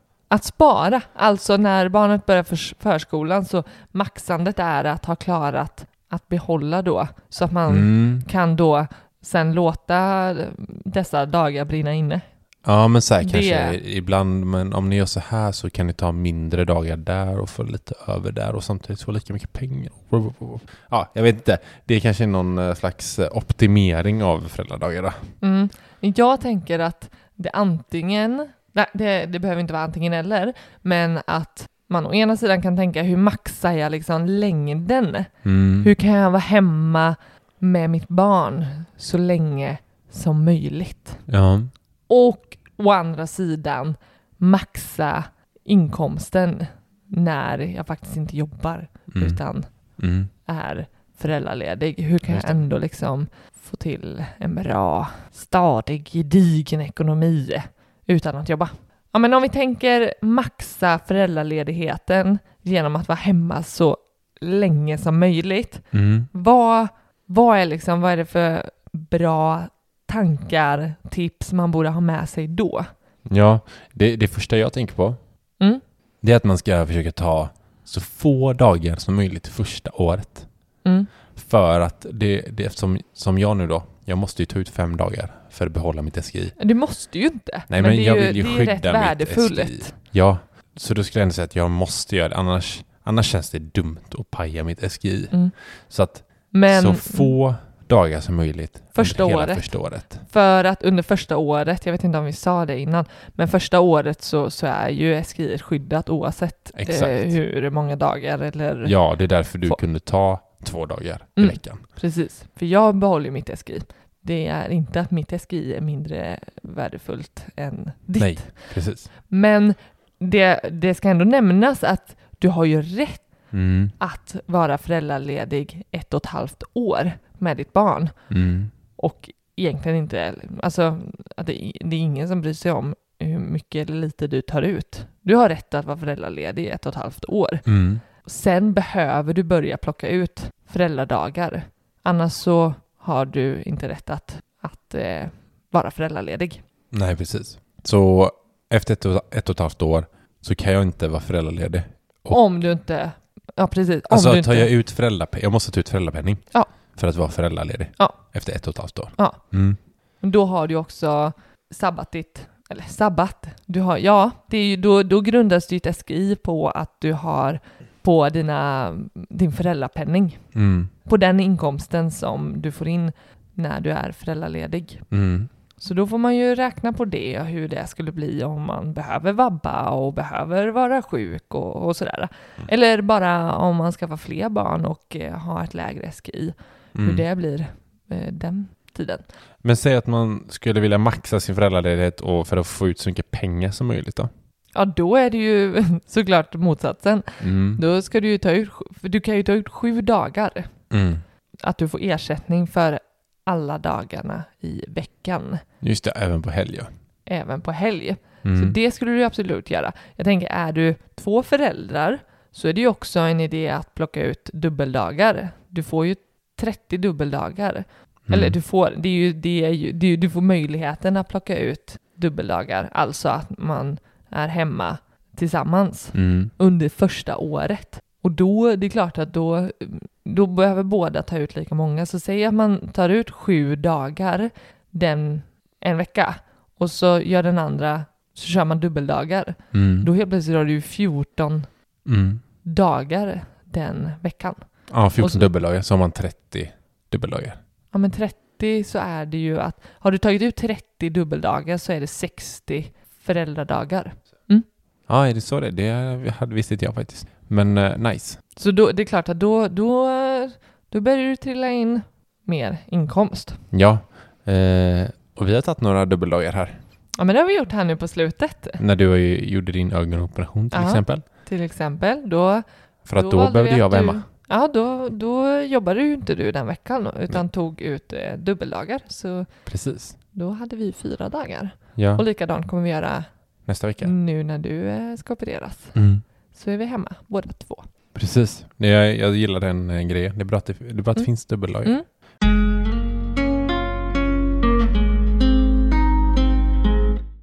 A: att spara. Alltså när barnet börjar förs- förskolan så maxandet är att ha klarat att behålla då så att man
B: Mm.
A: kan då sen låta dessa dagar brinna inne.
B: Ja, men så här
A: Det-
B: kanske ibland. Men om ni gör så här så kan ni ta mindre dagar där och få lite över där och samtidigt få lika mycket pengar. Ja, jag vet inte. Det är kanske någon eh, slags eh, optimering av föräldradagar. då.
A: Mm. Jag tänker att det antingen, nej, det, det behöver inte vara antingen eller, men att man å ena sidan kan tänka hur maxar jag liksom längden? Hur kan jag vara hemma med mitt barn så länge som möjligt?
B: Ja. Mm.
A: Och å andra sidan maxa inkomsten när jag faktiskt inte jobbar
B: Mm.
A: utan
B: Mm.
A: är föräldraledig. Hur kan
B: Just
A: jag
B: det.
A: ändå liksom få till en bra, stadig, gedigen ekonomi utan att jobba? Ja, men om vi tänker maxa föräldraledigheten genom att vara hemma så länge som möjligt.
B: Mm.
A: Vad, vad, är, liksom, vad är det för bra tankar, tips man borde ha med sig då?
B: Ja, det, det första jag tänker på
A: Mm.
B: det är att man ska försöka ta så få dagar som möjligt första året.
A: Mm.
B: För att det, det eftersom, som jag nu då, jag måste ju ta ut fem dagar för att behålla mitt SGI.
A: Du måste ju inte,
B: Nej, men
A: det är
B: jag vill ju
A: det är
B: skydda
A: rätt
B: mitt
A: värdefullt.
B: SGI. Ja, så då skulle jag ändå säga att jag måste göra det, annars, annars känns det dumt att paja mitt SGI.
A: Mm.
B: Så att
A: Men,
B: så få dagar som möjligt.
A: Första
B: under hela
A: året.
B: Första året.
A: För att under första året, jag vet inte om vi sa det innan, men första året så, så är ju SGI skyddat oavsett eh,
B: Exakt.
A: hur många dagar eller...
B: Ja, det är därför du
A: Få-
B: kunde ta två dagar i
A: Mm.
B: veckan.
A: Precis, för jag behåller ju mitt SGI. Det är inte att mitt SGI är mindre värdefullt än ditt.
B: Nej, precis.
A: Men det, det ska ändå nämnas att du har ju rätt
B: Mm.
A: att vara föräldraledig ett och ett halvt år med ditt barn.
B: Mm.
A: Och egentligen inte, alltså att det, det är ingen som bryr sig om hur mycket eller lite du tar ut. Du har rätt att vara föräldraledig i ett och ett halvt år.
B: Mm.
A: Sen behöver du börja plocka ut föräldradagar. Annars så har du inte rätt att, att eh, vara föräldraledig.
B: Nej, precis. Så efter ett och, ett och ett halvt år så kan jag inte vara föräldraledig. Och-
A: Om du inte... Ja, precis. Om
B: Alltså
A: du
B: tar
A: inte,
B: jag ut föräldrapenning, jag måste ta ut föräldrapenning
A: Ja.
B: för att vara föräldraledig
A: Ja.
B: efter ett och ett halvt år.
A: Ja.
B: Mm.
A: Då har du också sabbat ditt... Eller sabbat? Du har, ja, det är ju, då, då grundas ditt SGI på att du har på dina, din föräldrapenning.
B: Mm.
A: På den inkomsten som du får in när du är föräldraledig.
B: Mm.
A: Så då får man ju räkna på det och hur det skulle bli om man behöver vabba och behöver vara sjuk och, och sådär. Eller bara om man ska få fler barn och eh, ha ett lägre SGI,
B: Mm.
A: hur det blir eh, den tiden.
B: Men säg att man skulle vilja maxa sin föräldraledighet och för att få ut så mycket pengar som möjligt då?
A: Ja, då är det ju såklart motsatsen.
B: Mm.
A: Då ska du ju ta ut, sj- för du kan ju ta ut sju dagar,
B: Mm.
A: att du får ersättning för alla dagarna i veckan,
B: Just det, även på helger.
A: även på helg.
B: Mm.
A: Så det skulle du absolut göra. Jag tänker, är du två föräldrar så är det ju också en idé att plocka ut dubbeldagar. Du får ju 30 dubbeldagar.
B: Mm.
A: Eller du får, det är ju, det är ju, det är ju, du får möjligheten att plocka ut dubbeldagar. Alltså att man är hemma tillsammans
B: Mm.
A: under första året. Och då, det är klart att då, då behöver båda ta ut lika många. Så säg att man tar ut sju dagar den, en vecka och så gör den andra, så kör man dubbeldagar.
B: Mm.
A: Då helt plötsligt har du ju 14
B: Mm.
A: dagar den veckan.
B: Ja, 14
A: Och så-
B: dubbeldagar, så har man 30 dubbeldagar.
A: Ja men 30 så är det ju att, har du tagit ut 30 dubbeldagar så är det 60 föräldradagar.
B: Ja, är det så det är? Det hade visste inte jag faktiskt. Men eh, nice.
A: Så då, det är klart att då, då, då börjar du trilla in mer inkomst.
B: Ja. Eh, och vi har tagit några dubbeldagar här.
A: Ja men det har vi gjort här nu på slutet
B: När du eh, gjorde din ögonoperation till
A: Ja.
B: exempel.
A: till exempel. Då,
B: För att då,
A: valde
B: behövde
A: vi
B: jag
A: att
B: vara
A: du-
B: hemma.
A: Ja, då, då jobbade ju inte du den veckan utan tog ut eh, dubbeldagar. Så
B: Precis.
A: då hade vi fyra dagar.
B: Ja,
A: Och Mm. likadant kommer vi göra
B: nästa vecka.
A: nu när du eh, ska opereras.
B: Mm.
A: Så är vi hemma båda två.
B: Precis. Nej, Jag, jag gillar den eh, grejen. Det är bra att det, det, är bra att det
A: Mm.
B: finns dubbeldagar.
A: Mm.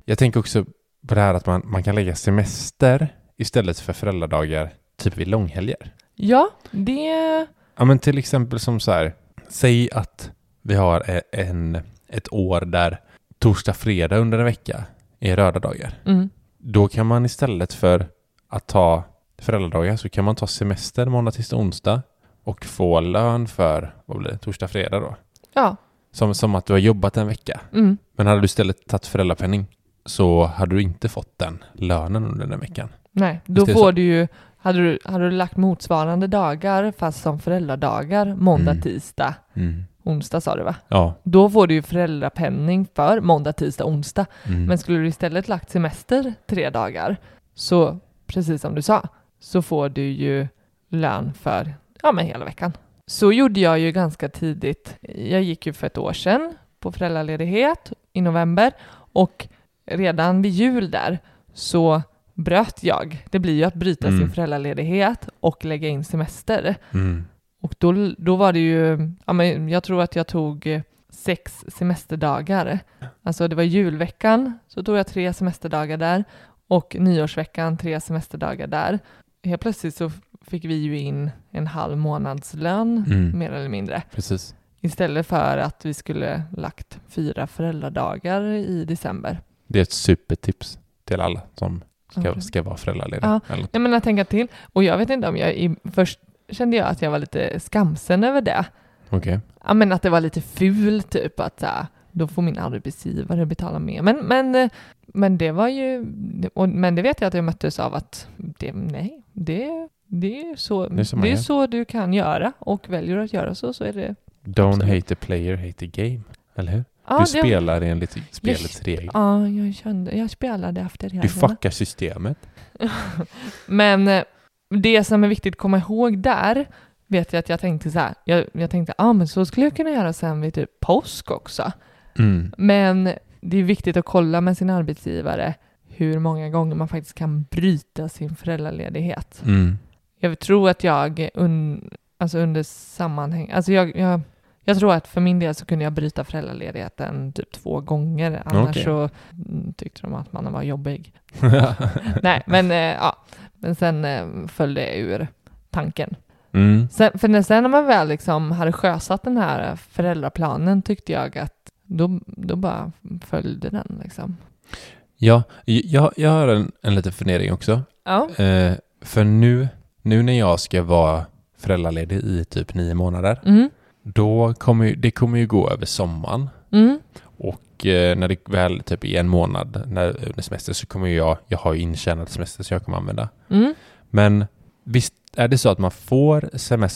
B: Jag tänker också på det här att man, man kan lägga semester istället för föräldradagar typ vid långhelger.
A: Ja, det...
B: Ja, men till exempel som så här, säg att vi har eh, en, ett år där torsdag, fredag under en vecka är röda dagar.
A: Mm.
B: Då kan man istället för att ta föräldradagar så kan man ta semester måndag, tisdag, onsdag och få lön för, vad blir det, torsdag, fredag då?
A: Ja.
B: Som, som att du har jobbat en vecka.
A: Mm.
B: Men hade du istället tagit föräldrapenning så hade du inte fått den lönen under den veckan.
A: Nej, då
B: det är
A: får
B: så?
A: du ju... Hade du, hade du lagt motsvarande dagar fast som föräldradagar, måndag,
B: Mm.
A: tisdag, onsdag sa du va?
B: Ja.
A: Då får du ju föräldrapenning för måndag, tisdag, onsdag.
B: Mm.
A: Men skulle du istället lagt semester tre dagar, så precis som du sa, så får du ju lön för ja, men hela veckan. Så gjorde jag ju ganska tidigt. Jag gick ju för ett år sedan på föräldraledighet i november och redan vid jul där så bröt jag. Det blir ju att bryta
B: Mm.
A: sin föräldraledighet och lägga in semester.
B: Mm.
A: Och då, då var det ju, ja, men jag tror att jag tog eh, sex semesterdagar. Alltså det var julveckan, så tog jag tre semesterdagar där och nyårsveckan tre semesterdagar där. Helt plötsligt så f- fick vi ju in en halv månadslön,
B: Mm.
A: mer eller mindre,
B: Precis.
A: istället för att vi skulle lagt fyra föräldradagar i december.
B: Det är ett supertips till alla som ska,
A: Okej.
B: ska vara föräldralediga.
A: Ja.
B: Eller-
A: Nej men att tänka till, och jag vet inte om jag, i, först kände jag att jag var lite skamsen över det.
B: Okej.
A: Ja, men att det var lite ful typ att så här, då får min arbetsgivare betala mer. Men, men, eh, men det var ju, och, men det vet jag att jag möttes av att det, nej, det, det är ju så,
B: Det är som
A: det är
B: man gör.
A: så du kan göra och väljer du att göra så så är det.
B: Don't
A: Absolut.
B: hate the player, hate the game. Eller hur?
A: Ja,
B: du
A: det,
B: spelar enligt spelets regler.
A: Ja, jag kände, jag spelade efter
B: Du
A: reglerna.
B: fuckar systemet.
A: Men eh, det som är viktigt att komma ihåg där vet jag att jag tänkte så här, jag, jag tänkte, ja ah, men så skulle jag kunna göra sen vid typ påsk också.
B: Mm.
A: Men det är viktigt att kolla med sin arbetsgivare hur många gånger man faktiskt kan bryta sin föräldraledighet.
B: Mm.
A: Jag tror att jag un, alltså under sammanhang, alltså jag, jag, jag tror att för min del så kunde jag bryta föräldraledigheten typ två gånger, annars
B: Okej.
A: så mm, tyckte de att man var jobbig. Nej, men, eh, ja. men sen eh, föll det ur tanken.
B: mm.
A: Sen, för när, sen när man väl liksom hade sjösatt den här föräldraplanen tyckte jag att då, då bara följde den liksom.
B: Ja, jag, jag har en, en liten fundering också.
A: Ja,
B: Eh, för nu, nu när jag ska vara föräldraledig i typ nio månader,
A: mm,
B: då kommer ju, det kommer ju gå över sommaren.
A: mm,
B: Och eh, när det väl typ är en månad när, under semester så kommer ju jag, jag har ju intjänad semester som jag kommer använda.
A: mm.
B: Men visst är det så att man får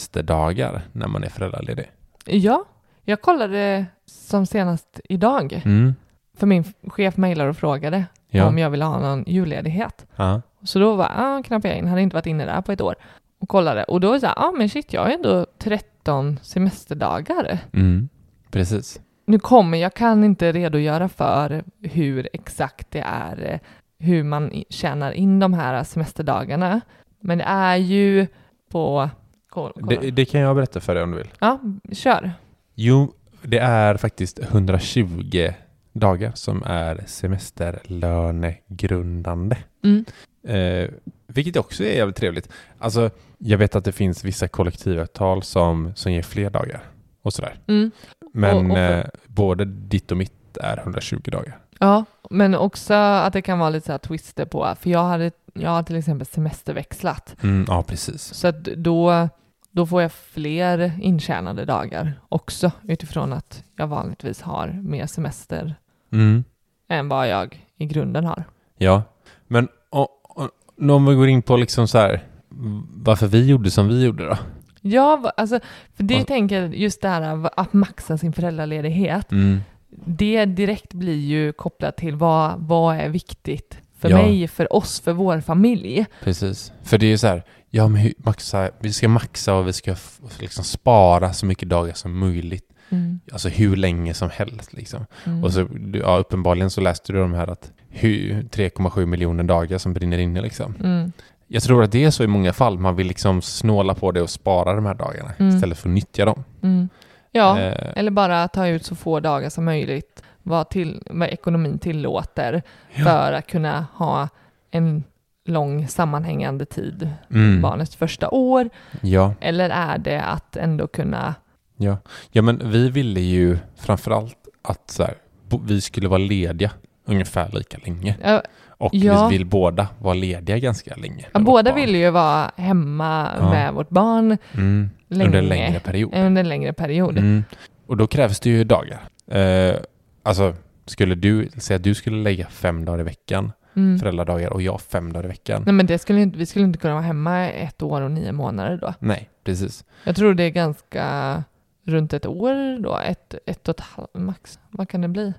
B: semesterdagar när man är föräldraledig?
A: Ja, jag kollade som senast idag,
B: Mm.
A: för min chef mejlade och frågade
B: Ja.
A: om jag ville ha någon julledighet.
B: Ja.
A: Så då var ah, knappade jag in, hade inte varit inne där på ett år och kollade. Och då var det så här, ah, men shit, jag har ju ändå 13 semesterdagar.
B: Mm. Precis.
A: Nu kommer, jag kan inte redogöra för hur exakt det är, eh, hur man i- tjänar in de här semesterdagarna. Men det är ju på... Kolla, kolla.
B: Det, det kan jag berätta för dig om du vill.
A: Ja, kör.
B: Jo, det är faktiskt 120 dagar som är semesterlönegrundande.
A: Mm.
B: Eh, vilket också är jävligt trevligt. Alltså, jag vet att det finns vissa kollektivavtal som, som ger fler dagar och sådär.
A: Mm.
B: Men
A: Och- och för-
B: eh, både ditt och mitt är 120 dagar.
A: Ja, men också att det kan vara lite så här twister på, för jag hade, jag har till exempel semesterväxlat,
B: Mm, ja, precis.
A: så att då, då får jag fler intjänade dagar också utifrån att jag vanligtvis har mer semester
B: Mm,
A: än vad jag i grunden har.
B: ja, men och, och, om vi går in på liksom så här, v- varför vi gjorde som vi gjorde då?
A: Ja, va- alltså, för det
B: Och-
A: tänker jag, just det här va- att maxa sin föräldraledighet,
B: Mm,
A: det direkt blir ju kopplat till vad, vad är viktigt för
B: Ja.
A: mig, för oss, för vår familj.
B: precis. För det är ju så här, ja, men hur- maxa, vi ska maxa och vi ska f- liksom spara så mycket dagar som möjligt. Alltså hur länge som helst liksom.
A: Mm.
B: Och så, du- ja, uppenbarligen så läste du de här att hur- 3,7 miljoner dagar som brinner inne liksom.
A: Mm.
B: Jag tror att det är så i många fall. Man vill liksom snåla på det och spara de här dagarna
A: Mm.
B: istället för att nyttja dem.
A: Mm. Ja,
B: Eh,
A: eller bara ta ut så få dagar som möjligt, vad, till, vad ekonomin tillåter,
B: Ja.
A: för att kunna ha en lång sammanhängande tid,
B: mm.
A: barnets första år,
B: Ja,
A: eller är det att ändå kunna,
B: ja. ja, men vi ville ju framförallt att så här, bo- vi skulle vara lediga ungefär lika länge.
A: Ja,
B: Och
A: Ja.
B: vi vill båda vara lediga ganska länge.
A: Ja,
B: med vårt
A: båda
B: barn.
A: vill ju vara hemma
B: Ja.
A: med vårt barn
B: mm.
A: länge, Eh,
B: Under en längre period.
A: under en längre period.
B: Mm. Och då krävs det ju dagar. Eh, alltså, skulle du säga att du skulle lägga fem dagar i veckan,
A: Mm.
B: föräldradagar, och jag fem dagar i veckan?
A: Nej, men det skulle inte, vi skulle inte kunna vara hemma ett år och nio månader då.
B: Nej, precis.
A: Jag tror det är ganska runt ett år då, ett, ett och ett halvt max. Vad kan det bli?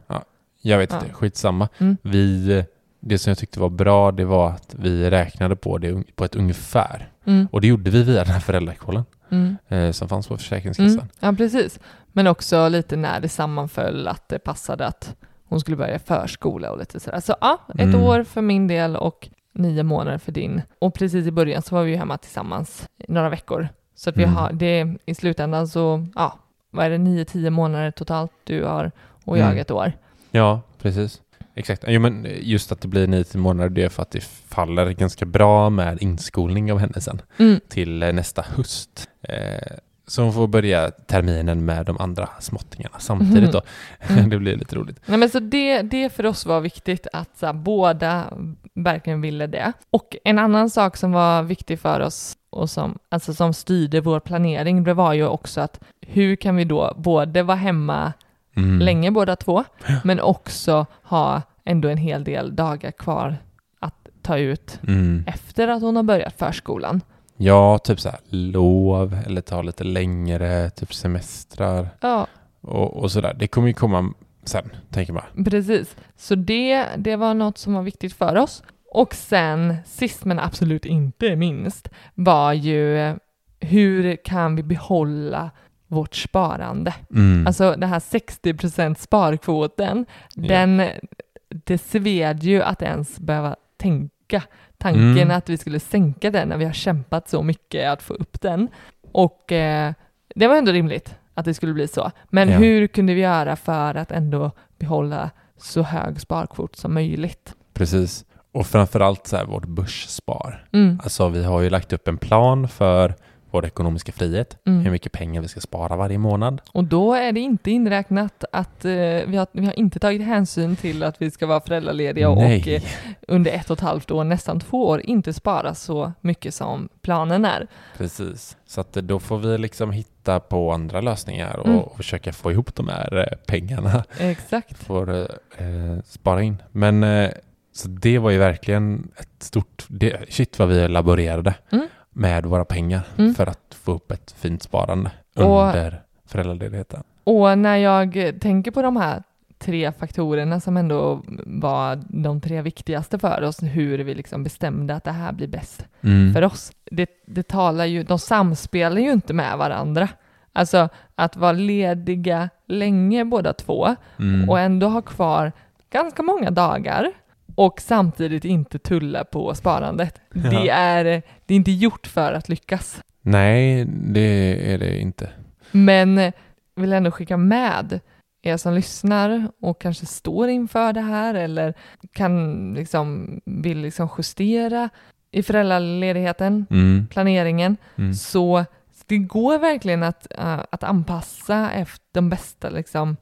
B: Jag vet
A: Ja.
B: inte, skitsamma.
A: Mm.
B: Vi, det som jag tyckte var bra, det var att vi räknade på det un- på ett ungefär.
A: Mm,
B: Och det gjorde vi via den här föräldrakollen
A: mm,
B: eh, som fanns på Försäkringskassan.
A: mm. Ja, precis. Men också lite när det sammanföll att det passade att hon skulle börja förskola och lite sådär. Så ja, ett
B: Mm.
A: år för min del och nio månader för din. Och precis i början så var vi ju hemma tillsammans i några veckor. Så att vi
B: Mm.
A: har det i slutändan så, ja, vad är det, nio, tio månader totalt du har och jag
B: Mm.
A: ett år.
B: Ja, precis. Exakt. Jo, men just att det blir nio till månader, det är för att det faller ganska bra med inskolning av henne sen
A: Mm.
B: till eh, nästa höst. Eh, Så hon får börja terminen med de andra småttingarna samtidigt då.
A: Mhm. Mm.
B: det blir lite roligt.
A: Nej, men så det, det för oss var viktigt att så här, båda verkligen ville det. Och en annan sak som var viktig för oss och som, alltså, som styrde vår planering, det var ju också att hur kan vi då både vara hemma
B: Mm.
A: länge båda två, men också ha ändå en hel del dagar kvar att ta ut
B: Mm.
A: efter att hon har börjat förskolan.
B: Ja, typ så här lov eller ta lite längre, typ semestrar
A: Ja,
B: och, och sådär. Det kommer ju komma sen, tänker man.
A: Precis, så det, det var något som var viktigt för oss. Och sen, sist men absolut inte minst, var ju eh, hur kan vi behålla vårt sparande?
B: Mm.
A: Alltså den här 60% sparkvoten,
B: Ja.
A: den, det sved ju att ens behöva tänka tanken
B: Mm.
A: att vi skulle sänka den när vi har kämpat så mycket att få upp den. Och eh, det var ändå rimligt att det skulle bli så. Men
B: Ja.
A: hur kunde vi göra för att ändå behålla så hög sparkvot som möjligt?
B: Precis. Och framförallt så här vårt börsspar.
A: Mm.
B: Alltså vi har ju lagt upp en plan för vår ekonomiska frihet,
A: Mm.
B: hur mycket pengar vi ska spara varje månad.
A: Och då är det inte inräknat att eh, vi, har, vi har inte tagit hänsyn till att vi ska vara föräldralediga och eh,
B: Nej,
A: under ett och ett halvt år, nästan två år, inte spara så mycket som planen är.
B: precis. Så att då får vi liksom hitta på andra lösningar och,
A: Mm.
B: och försöka få ihop de här eh, pengarna.
A: Exakt.
B: Får eh, eh, spara in. Men eh, så det var ju verkligen ett stort, det, shit vad vi laborerade
A: Mm.
B: med våra pengar
A: Mm.
B: för att få upp ett fint sparande
A: Och-
B: under föräldraledigheten.
A: Och när jag tänker på de här tre faktorerna som ändå var de tre viktigaste för oss, hur vi liksom bestämde att det här blir bäst
B: Mm.
A: för oss. Det, det talar ju, de samspelar ju inte med varandra. Alltså att vara lediga länge båda två
B: Mm.
A: och ändå ha kvar ganska många dagar och samtidigt inte tulla på sparandet. Det är, det är inte gjort för att lyckas.
B: Nej, det är det inte.
A: Men eh, vill ändå skicka med er som lyssnar och kanske står inför det här eller kan liksom, vill liksom justera i föräldraledigheten,
B: Mm.
A: planeringen,
B: Mm.
A: så det går verkligen att, eh, att anpassa efter de bästa, liksom,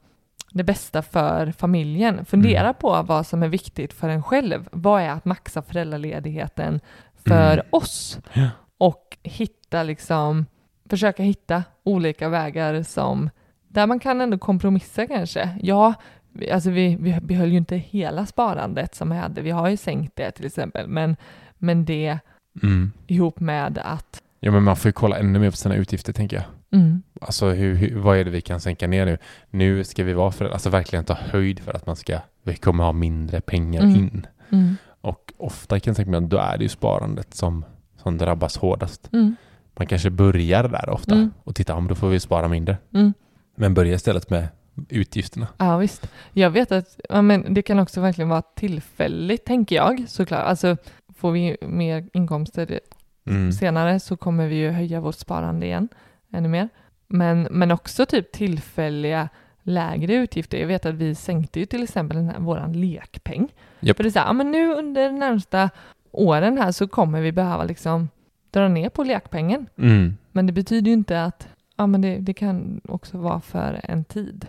A: det bästa för familjen. Fundera
B: Mm.
A: på vad som är viktigt för en själv. Vad är att maxa föräldraledigheten för
B: Mm.
A: oss?
B: Ja.
A: Och hitta liksom, försöka hitta olika vägar som, där man kan ändå kompromissa kanske. Ja, vi- alltså vi, vi behöll ju inte hela sparandet som vi hade. Vi har ju sänkt det till exempel, men, men det
B: Mm.
A: ihop med att
B: Ja, men man får ju kolla ännu mer på sina utgifter, tänker jag.
A: mm,
B: Alltså, hur, hur, vad är det vi kan sänka ner nu? Nu ska vi vara för, alltså verkligen ta höjd för att man ska, vi kommer ha mindre pengar
A: Mm.
B: in.
A: mm,
B: Och ofta kan jag tänka mig att då är det ju sparandet som, som drabbas hårdast.
A: mm,
B: Man kanske börjar där ofta
A: Mm.
B: och tittar, om då får vi spara mindre.
A: mm.
B: Men börja istället med utgifterna.
A: Ja visst. Jag vet att ja, men det kan också verkligen vara tillfälligt, tänker jag såklart. Alltså får vi mer inkomster
B: Mm.
A: senare så kommer vi ju höja vårt sparande igen ännu mer. Men, men också typ tillfälliga lägre utgifter. Jag vet att vi sänkte ju till exempel den här, våran lekpeng.
B: Japp.
A: För det är så här, ja, men nu under de närmsta åren här så kommer vi behöva liksom dra ner på lekpengen.
B: Mm.
A: Men det betyder ju inte att ja, men det, det kan också vara för en tid.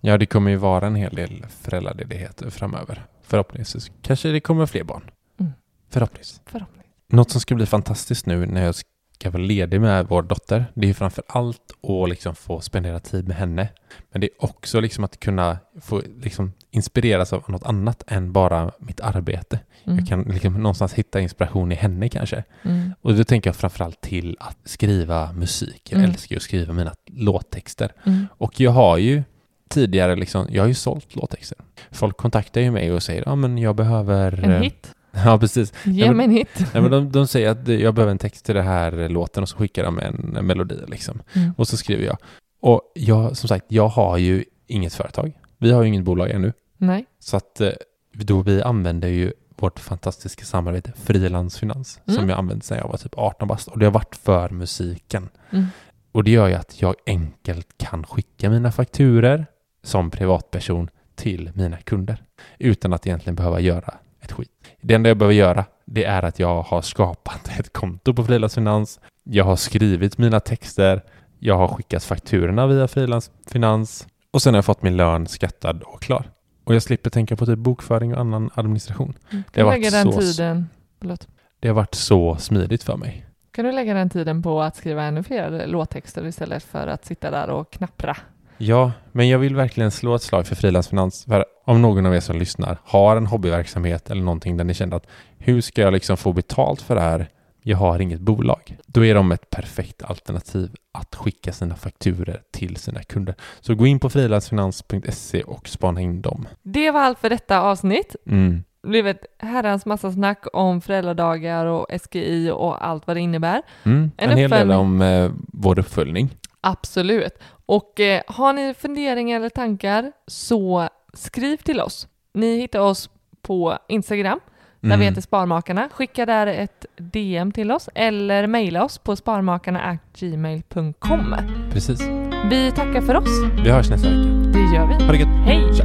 B: Ja, det kommer ju vara en hel del föräldraledigheter framöver. Förhoppningsvis kanske det kommer fler barn.
A: Mm.
B: Förhoppningsvis.
A: Förhoppningsvis.
B: Något som ska bli fantastiskt nu när jag ska vara ledig med vår dotter, det är ju framför allt att liksom få spendera tid med henne. Men det är också liksom att kunna få liksom inspireras av något annat än bara mitt arbete.
A: Mm.
B: Jag kan liksom någonstans hitta inspiration i henne kanske.
A: Mm.
B: Och då tänker jag framförallt till att skriva musik. Jag
A: Mm.
B: älskar ju att skriva mina låttexter.
A: Mm.
B: Och jag har ju tidigare liksom, jag har ju sålt låttexter. Folk kontaktar ju mig och säger, ja men jag behöver...
A: En
B: eh,
A: hit.
B: Ja, precis.
A: Ge
B: men-
A: mig en hit.
B: Nej, men de, de säger att jag behöver en text till den här låten och så skickar de en melodi liksom.
A: Mm.
B: Och så skriver jag. Och jag, som sagt, jag har ju inget företag. Vi har ju inget bolag ännu.
A: Nej.
B: Så att eh, då vi använder ju vårt fantastiska samarbete Frilansfinans
A: Mm.
B: som jag använt sedan jag var typ 18 bast och det har varit för musiken.
A: Mm.
B: Och det gör ju att jag enkelt kan skicka mina fakturer som privatperson till mina kunder utan att egentligen behöva göra ett skit. Det enda jag behöver göra det är att jag har skapat ett konto på Frilansfinans. Jag har skrivit mina texter. Jag har skickat fakturorna via Filans Finans och sen har jag fått min lön skattad och klar. Och jag slipper tänka på typ bokföring och annan administration.
A: Kan du
B: varit
A: Mm. lägga den
B: så-
A: tiden, förlåt,
B: Det har varit så smidigt för mig.
A: kan du lägga den tiden på att skriva ännu fler låttexter istället för att sitta där och knappra?
B: Ja, men jag vill verkligen slå ett slag för frilansfinans. För om någon av er som lyssnar har en hobbyverksamhet eller någonting där ni känner att hur ska jag liksom få betalt för det här? Jag har inget bolag. Då är de ett perfekt alternativ att skicka sina fakturer till sina kunder. Så gå in på frilansfinans.se och spana in dem.
A: Det var allt för detta avsnitt.
B: Mm.
A: Det blev ett herrans massa snack om föräldradagar och SGI och allt vad det innebär.
B: Mm.
A: En
B: En, hel del
A: uppföljning.
B: om eh, vår uppföljning.
A: Absolut. Och eh, har ni funderingar eller tankar så skriv till oss. Ni hittar oss på Instagram där vi
B: Mm.
A: heter Sparmakarna. Skicka där ett DM till oss eller mejla oss på sparmakarna.gmail.com.
B: Precis.
A: Vi tackar för oss.
B: Vi hörs nästa vecka.
A: Det gör vi.
B: Ha det gött.
A: Hej!
B: Tja.